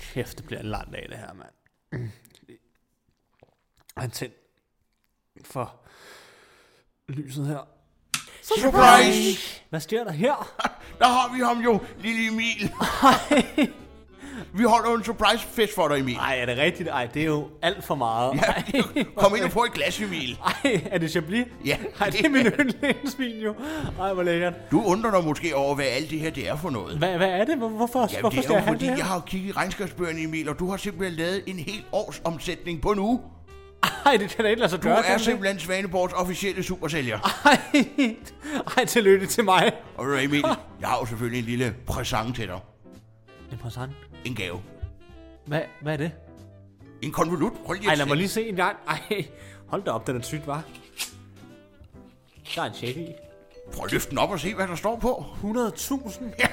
kæft, det bliver en lang dag, det her, mand. Han tændt for lyset her. Surprise! Hvad sker der her? Der har vi ham jo, lille Emil. vi holder jo en surprise fest for dig, Emil. Nej, er det rigtigt? Ej, det er jo alt for meget. Ja, Kom ind og få et glas, Emil. Ej, er det Chablis? Ja. Ej, det er min yndlingsvin jo. Ej, hvor lækkert. Du undrer dig måske over, hvad alt det her det er for noget. Hvad, hvad er det? Hvor- Hvorfor, Jamen, hvorfor det skal er jeg jo have fordi, det her? jeg har jo kigget i regnskabsbøgerne, Emil, og du har simpelthen lavet en hel års omsætning på nu. Ej, det kan da ikke lade sig Du gøre. kan er det? Ah. simpelthen Svaneborgs officielle supersælger. Ej, ej, tillykke til mig. Og ved du hvad, Emil, Ah. jeg har jo selvfølgelig en lille præsang til dig. En passant. En gave. Hvad, hvad er det? En konvolut. Prøv lige Ej, at lad se. mig lige se en gang. Ej, hold da op, den er tyk, var. Der er en check i. Prøv at løfte den op og se, hvad der står på. 100.000?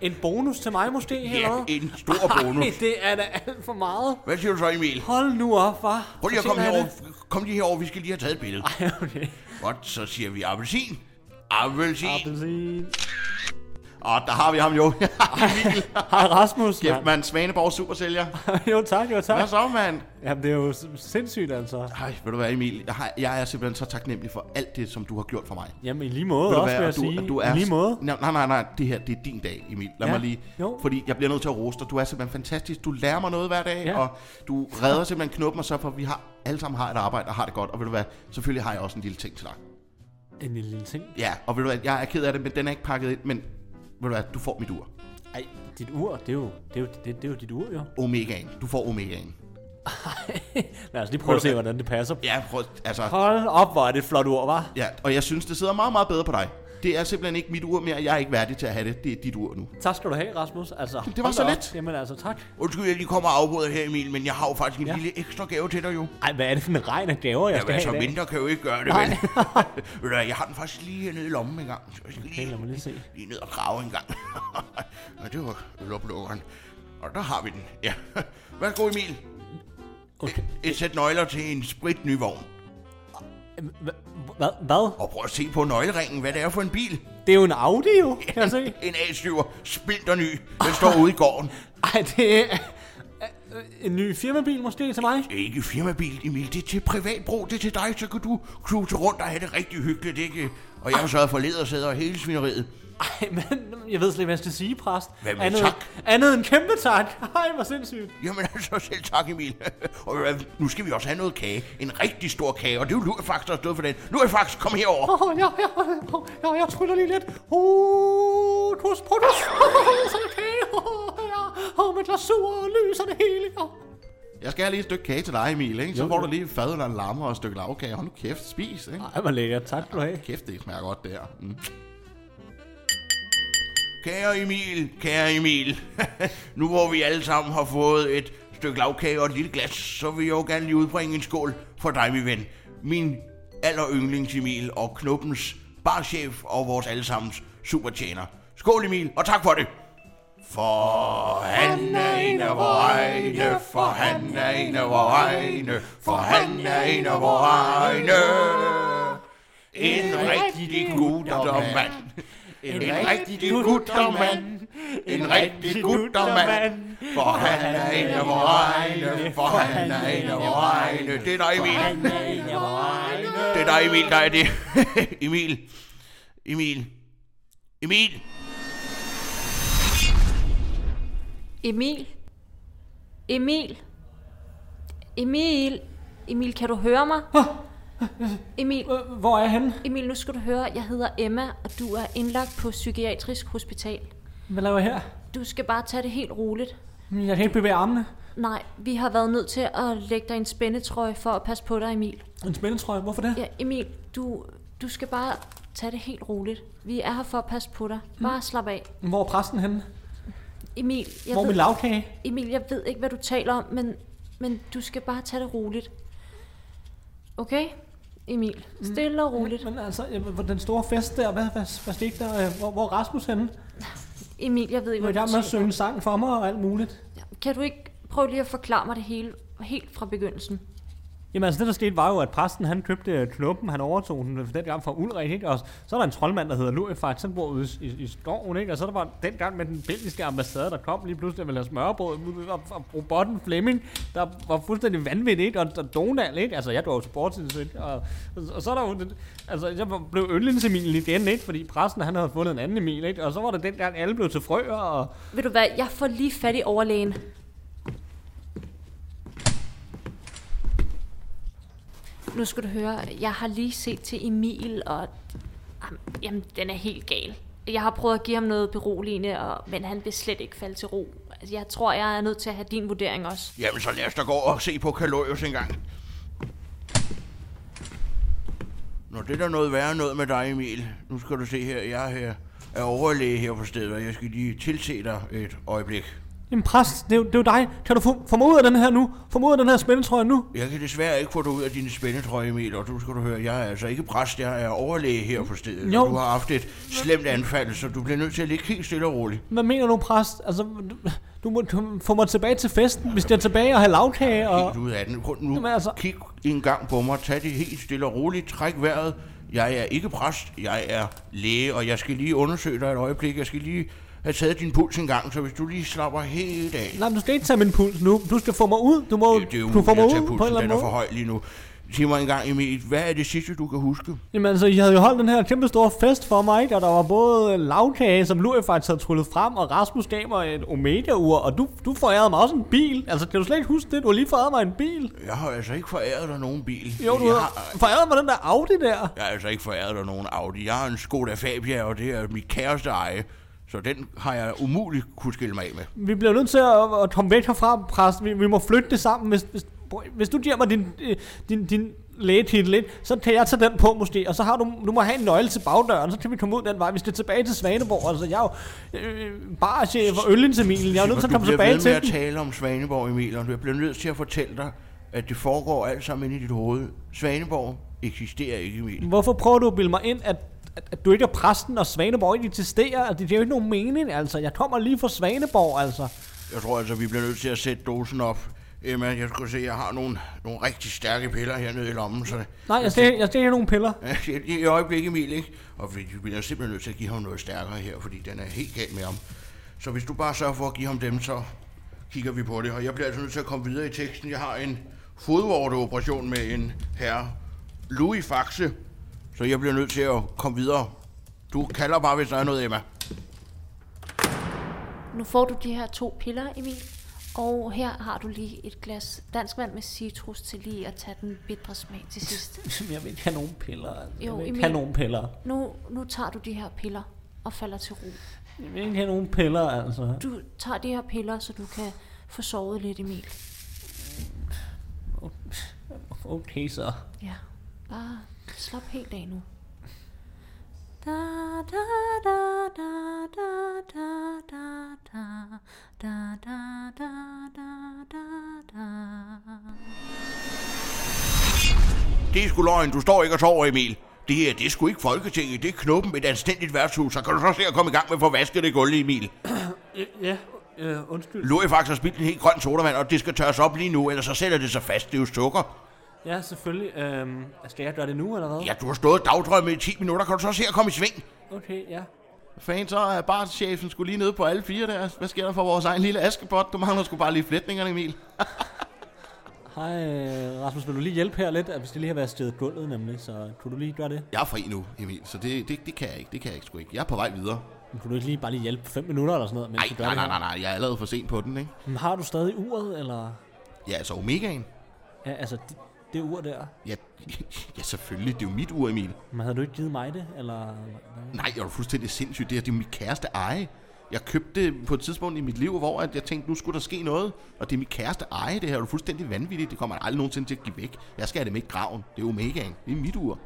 En bonus til mig måske, eller Ja, hvad? en stor Ej, bonus. det er da alt for meget. Hvad siger du så, Emil? Hold nu op, var. Prøv lige at komme herover. Kom lige herover, vi skal lige have taget et billede. Ej, okay. Godt, så siger vi appelsin. Appelsin. Appelsin. Og der har vi ham jo. Hej Rasmus, Kæft, mand. mand. Svaneborg supersælger. jo tak, jo Hvad tak. så, mand? Jamen, det er jo s- sindssygt, altså. Ej, ved du hvad, Emil? Jeg, har, jeg er simpelthen så taknemmelig for alt det, som du har gjort for mig. Jamen, i lige måde Ved du også, vil hvad, og jeg du, sige. og du er, I lige måde. Nej, nej, nej, nej, det her, det er din dag, Emil. Lad Ja, ja. mig lige, jo. jo. fordi jeg bliver nødt til at roste dig. Du er simpelthen fantastisk. Du lærer mig noget hver dag, Ja. ja. og du redder simpelthen knuppen og så for, vi har alle sammen har et arbejde og har det godt. Og ved du hvad, selvfølgelig har jeg også en lille ting til dig. En lille, lille ting. Ja, og ved du hvad, jeg er ked af det, men den er ikke pakket ind, men ved du hvad, du får mit ur. Ej, dit ur, det er jo, det er jo, det, det er jo dit ur, jo. Omegaen. Du får omegaen. Lad os lige prøve at se, hvordan det passer. Ja, prøv, altså, Hold op, hvor er det et flot ur, var. ja, og jeg synes, det sidder meget, meget bedre på dig. Det er simpelthen ikke mit ur mere, jeg er ikke værdig til at have det. Det er dit ur nu. Tak skal du have, Rasmus. Altså, det var hold så da op. lidt. Jamen altså, tak. Undskyld, jeg lige kommer og afbryder her, Emil, men jeg har jo faktisk en ja. lille ekstra gave til dig jo. Ej, hvad er det for en regn af gaver, jeg Jeg skal Jamen, altså, have i dag? mindre kan jo ikke gøre det, Nej. vel? Ved du hvad, jeg har den faktisk lige hernede i lommen en gang. Så jeg skal Okay, lad lige, mig lige se. lige ned og grave en gang. og det var loplukkeren. Og der har vi den. Ja. Værsgo, Emil. Okay. Et sæt nøgler til en spritny vogn. Hva- Hvad? Hvad? Og prøv at se på nøgleringen, hvad det er for en bil. Det er jo en Audi, jo, kan jeg se. En A7'er, splinter ny. Den står ude i gården. Ej, det er Øh, en ny firmabil måske til mig. Det er ikke firmabil, Emil. Det er til privat brug. Det er til dig, så kan du cruise rundt og have det rigtig hyggeligt, ikke? Og jeg har sørget for ledersæder og hele svineriet. Ej, men jeg ved slet ikke, hvad jeg skal sige, præst. Hvad med andet, tak? andet end kæmpe tak. Ej, hvor sindssygt. Jamen altså, selv tak, Emil. og øh, nu skal vi også have noget kage. En rigtig stor kage, og det er jo Lurifax, der har stået for den. Lurifax, kom herover. Åh, oh, ja, ja, ja, jeg tryller lige lidt. Åh, kus, pokus. Så er der kage. Åh, ja. Åh, med glasur og lys og det hele. Åh. Jeg skal have lige et stykke kage til dig, Emil, ikke? Så Jo, får jo. du lige en fad eller en lamme og et stykke lavkage. Hold nu kæft, spis, ikke? Ej, hvor lækkert. Tak skal du have. Kæft, det smager godt, det her. Mm. Kære Emil, kære Emil. nu hvor vi alle sammen har fået et stykke lavkage og et lille glas, så vil jeg jo gerne lige udbringe en skål for dig, min ven. Min aller yndlings Emil og Knuppens barchef og vores allesammens supertjener. Skål Emil, og tak for det. For han er en af vores egne, for han er en af vores egne, for han er en af vores egne. En rigtig guttermand. En rigtig guttermand. En rigtig guttermand. For han er en af vores egne. For han er en af vores egne. Det er dig, Emil. Det er dig, Emil, der er det. Emil. Emil. Emil. Emil? Emil? Emil? Emil, kan du høre mig? Emil, Øh, Hvor er jeg henne? Emil, nu skal du høre, jeg hedder Emma, og du er indlagt på Psykiatrisk Hospital. Hvad laver jeg her? Du skal bare tage det helt roligt. Jeg kan ikke bevæge armene. Nej, vi har været nødt til at lægge dig i en spændetrøje for at passe på dig, Emil. En spændetrøje, hvorfor det? Ja, Emil, du, du skal bare tage det helt roligt. Vi er her for at passe på dig. Bare slap af. Hvor er præsten henne? Emil, jeg Hvor er ved... min lavkage? Emil, jeg ved ikke, hvad du taler om, men, men du skal bare tage det roligt. Okay, Emil? Stille og roligt. Men altså, ja, hvor den store fest der, hvad, hvad, hvad skete der? Øh, Hvor, hvor er Rasmus henne? Emil, jeg ved Du ikke, var i hvad gang med du at synge en sang for mig og alt muligt. taler Kan du ikke prøve lige at forklare mig det hele helt fra begyndelsen? Jamen altså det der skete var jo, at præsten han købte klumpen, han overtog den øh, dengang fra Ulrik, ikke? og så er der en troldmand, der hedder Lurifax, som bor ude i, i skoven, ikke? og så er der var dengang med den belgiske ambassade, der kom lige pludselig og ville have smørbrød, og, og robotten Flemming, der var fuldstændig vanvittig, ikke? Og, og, Donald, ikke? altså jeg drog til sportsindsyn, og, og, og, så er der jo, den- altså jeg blev yndlingsemilen igen, ikke? fordi præsten han havde fundet en anden Emil, ikke? og så var der dengang alle blev til frøer, og Ved du hvad, jeg får lige fat i overlægen. Nu skal du høre, jeg har lige set til Emil, og Am, jamen, den er helt gal. Jeg har prøvet at give ham noget beroligende, og, men han vil slet ikke falde til ro. Altså, jeg tror, jeg er nødt til at have din vurdering også. Jamen, så lad os da gå og se på Kalorius en gang. Nå, det er da noget værre noget med dig, Emil. Nu skal du se her, jeg er her er overlæge her på stedet, og jeg skal lige tilse dig et øjeblik. Jamen præst, det er, jo, det er jo dig. Kan du få, få mig ud af den her nu? Få mig ud af den her spændetrøje nu? Jeg kan desværre ikke få dig ud af din spændetrøje, Emil, og du skal du høre, jeg er altså ikke præst, jeg er overlæge her på stedet. Jo. og Du har haft et slemt anfald, så du bliver nødt til at ligge helt stille og roligt. Hvad mener du, præst? Altså, du, du må du, få mig tilbage til festen. Vi skal tilbage og have lavkage og... helt ud af den. Kun nu, Jamen, altså- kig en gang på mig, tag det helt stille og roligt, træk vejret. Jeg er ikke præst, jeg er læge, og jeg skal lige undersøge dig et øjeblik. Jeg skal lige have taget din puls en gang, så hvis du lige slapper helt af. Nej, men du skal ikke tage min puls nu. Du skal få mig ud. Du må Det er jo du får mig at tage ud på en pulsen, eller den anden er for måde. høj lige nu. Sig mig en gang, Emil, hvad er det sidste, du kan huske? Jamen altså, I havde jo holdt den her kæmpe store fest for mig, ikke? Og der var både øh, lavkage, som Louis faktisk havde tryllet frem, og Rasmus gav mig et Omega-ur, og du, du forærede mig også en bil. Altså, kan du slet ikke huske det? Du har lige forærede mig en bil. Jeg har altså ikke foræret dig nogen bil. Jo, du jeg har forærede mig den der Audi der. Jeg har altså ikke foræret dig nogen Audi. Jeg har en Skoda Fabia, og det er mit kæreste eje. Så den har jeg umuligt kunne skille mig af med. Vi bliver nødt til at, at komme væk herfra, præst. Vi, vi må flytte det sammen. Hvis, hvis, hvis du giver mig din, øh, din, din lægetitel lidt, så kan jeg tage den på måske, og så har du, du må have en nøgle til bagdøren, så kan vi komme ud den vej. Vi skal tilbage til Svaneborg, altså jeg er jo øh, barchef og ølindsemilien, jeg er jo nødt til at du komme bliver tilbage ved med til at den. tale om Svaneborg, Emil, og jeg bliver nødt til at fortælle dig, at det foregår alt sammen inde i dit hoved. Svaneborg eksisterer ikke, Emil. Hvorfor prøver du at bilde mig ind, at, at, at du ikke er præsten, og Svaneborg ikke eksisterer? Altså, det giver jo ikke nogen mening, altså. Jeg kommer lige fra Svaneborg, altså. Jeg tror altså, vi bliver nødt til at sætte dosen op. Emma, jeg skulle se, jeg har nogle, nogle rigtig stærke piller hernede i lommen, så Nej, altså- jeg skal, jeg skal ikke have nogen piller. i øjeblikket, Emil, ikke? Og vi vi bliver simpelthen nødt til at give ham noget stærkere her, fordi den er helt gal med ham. Så hvis du bare sørger for at give ham dem, så kigger vi på det. Og jeg bliver altså nødt til at komme videre i teksten. Jeg har en fodvorteoperation med en herre, Louis Faxe. Så jeg bliver nødt til at komme videre. Du kalder bare, hvis der er noget, Emma. Nu får du de her to piller, Emil. Og her har du lige et glas danskvand med citrus til lige at tage den bitre smag til sidst. Jeg vil ikke have nogen piller, altså. Jeg Jo, vil ikke Emil. have nogen piller. Nu, nu tager du de her piller og falder til ro. Jeg vil ikke have nogen piller, altså. Du tager de her piller, så du kan få sovet lidt, Emil. Okay så. Ja, bare slap helt af nu. Da, da, da, da, da, da, da, da, da, da, da, da, da, da. Det er sgu løgn. Du står ikke og sover, Emil. Det her, det er sgu ikke Folketinget. Det er knuppen med et anstændigt værtshus. Så kan du så se at komme i gang med at få vasket det gulv, Emil. Ja, øh, undskyld. Louis faktisk har spildt en helt grøn sodavand, og det skal tørres op lige nu, ellers så sætter det sig fast. Det er jo sukker. Ja, selvfølgelig. Øh, skal jeg gøre det nu, eller hvad? Ja, du har stået og dagdrømmet i 10 minutter. Kan du så se at komme i sving? Okay, ja. Fan, så er barchefen skulle lige nede på alle fire der. Hvad sker der for vores egen lille askebot? Du mangler sgu bare lige flætningerne, Emil. Hej, øh, Rasmus, vil du lige hjælpe her lidt? At Hvis det lige har været stedet gulvet, nemlig, så kunne du lige gøre det? Jeg er fri nu, Emil, så det, det, det kan jeg ikke. Det kan jeg ikke sgu ikke. Jeg er på vej videre. Men kunne du ikke lige bare lige hjælpe 5 minutter eller sådan noget, mens Nej, du gør nej, det nej, her? nej, nej. Jeg er allerede for sent på den, ikke? Men har du stadig uret, eller? Ja, altså Omegaen. Ja, altså, det, det ur der. Ja, ja, selvfølgelig. Det er jo mit ur, Emil. Men havde du ikke givet mig det, eller? hvad? Nej, jeg er jo fuldstændig sindssyg. Det her, det er mit kæreste eje. Jeg købte det på et tidspunkt i mit liv, hvor at jeg tænkte, nu skulle der ske noget. Og det er mit kæreste eje. Det her er jo fuldstændig vanvittigt. Det kommer jeg aldrig nogensinde til at give væk. Jeg skal have det med i graven. Det er Omegaen. Det er mit ur.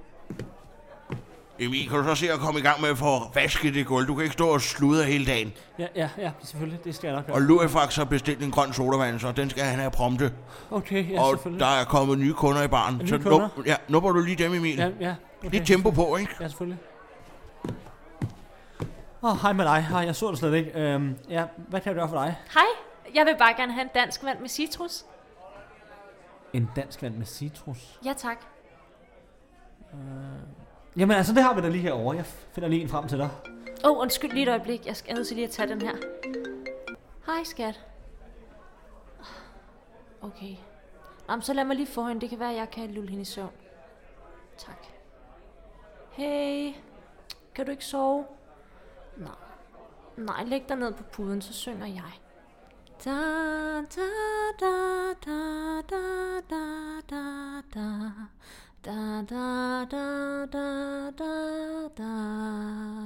Emil, kan du så se at komme i gang med at få vasket det gulv? Du kan ikke stå og sludre hele dagen. Ja, ja, ja, selvfølgelig. Det skal jeg nok Og gøre. Louis faktisk har bestilt en grøn sodavand, så den skal han have prompte. Okay, ja, Og selvfølgelig. der er kommet nye kunder i baren. nye Så kunder? nu, ja, nu du lige dem, Emil. Ja, ja. Okay. Lidt tempo på, ikke? Ja, selvfølgelig. Åh, oh, hej med dig. Hej, jeg så dig slet ikke. Øhm, ja, hvad kan jeg gøre for dig? Hej, jeg vil bare gerne have en dansk vand med citrus. En dansk vand med citrus. Ja, tak. Jamen altså, det har vi da lige herovre. Jeg finder lige en frem til dig. Åh, oh, undskyld lige et øjeblik. Jeg skal jeg er nødt til lige at tage den her. Hej, skat. Okay. Jamen, så lad mig lige få hende. Det kan være, jeg kan lulle hende i søvn. Tak. Hey. Kan du ikke sove? Nej. Nej, læg dig ned på puden, så synger jeg. Da, da, da, da, da, da, da, da. Da, da, da, da, da, da.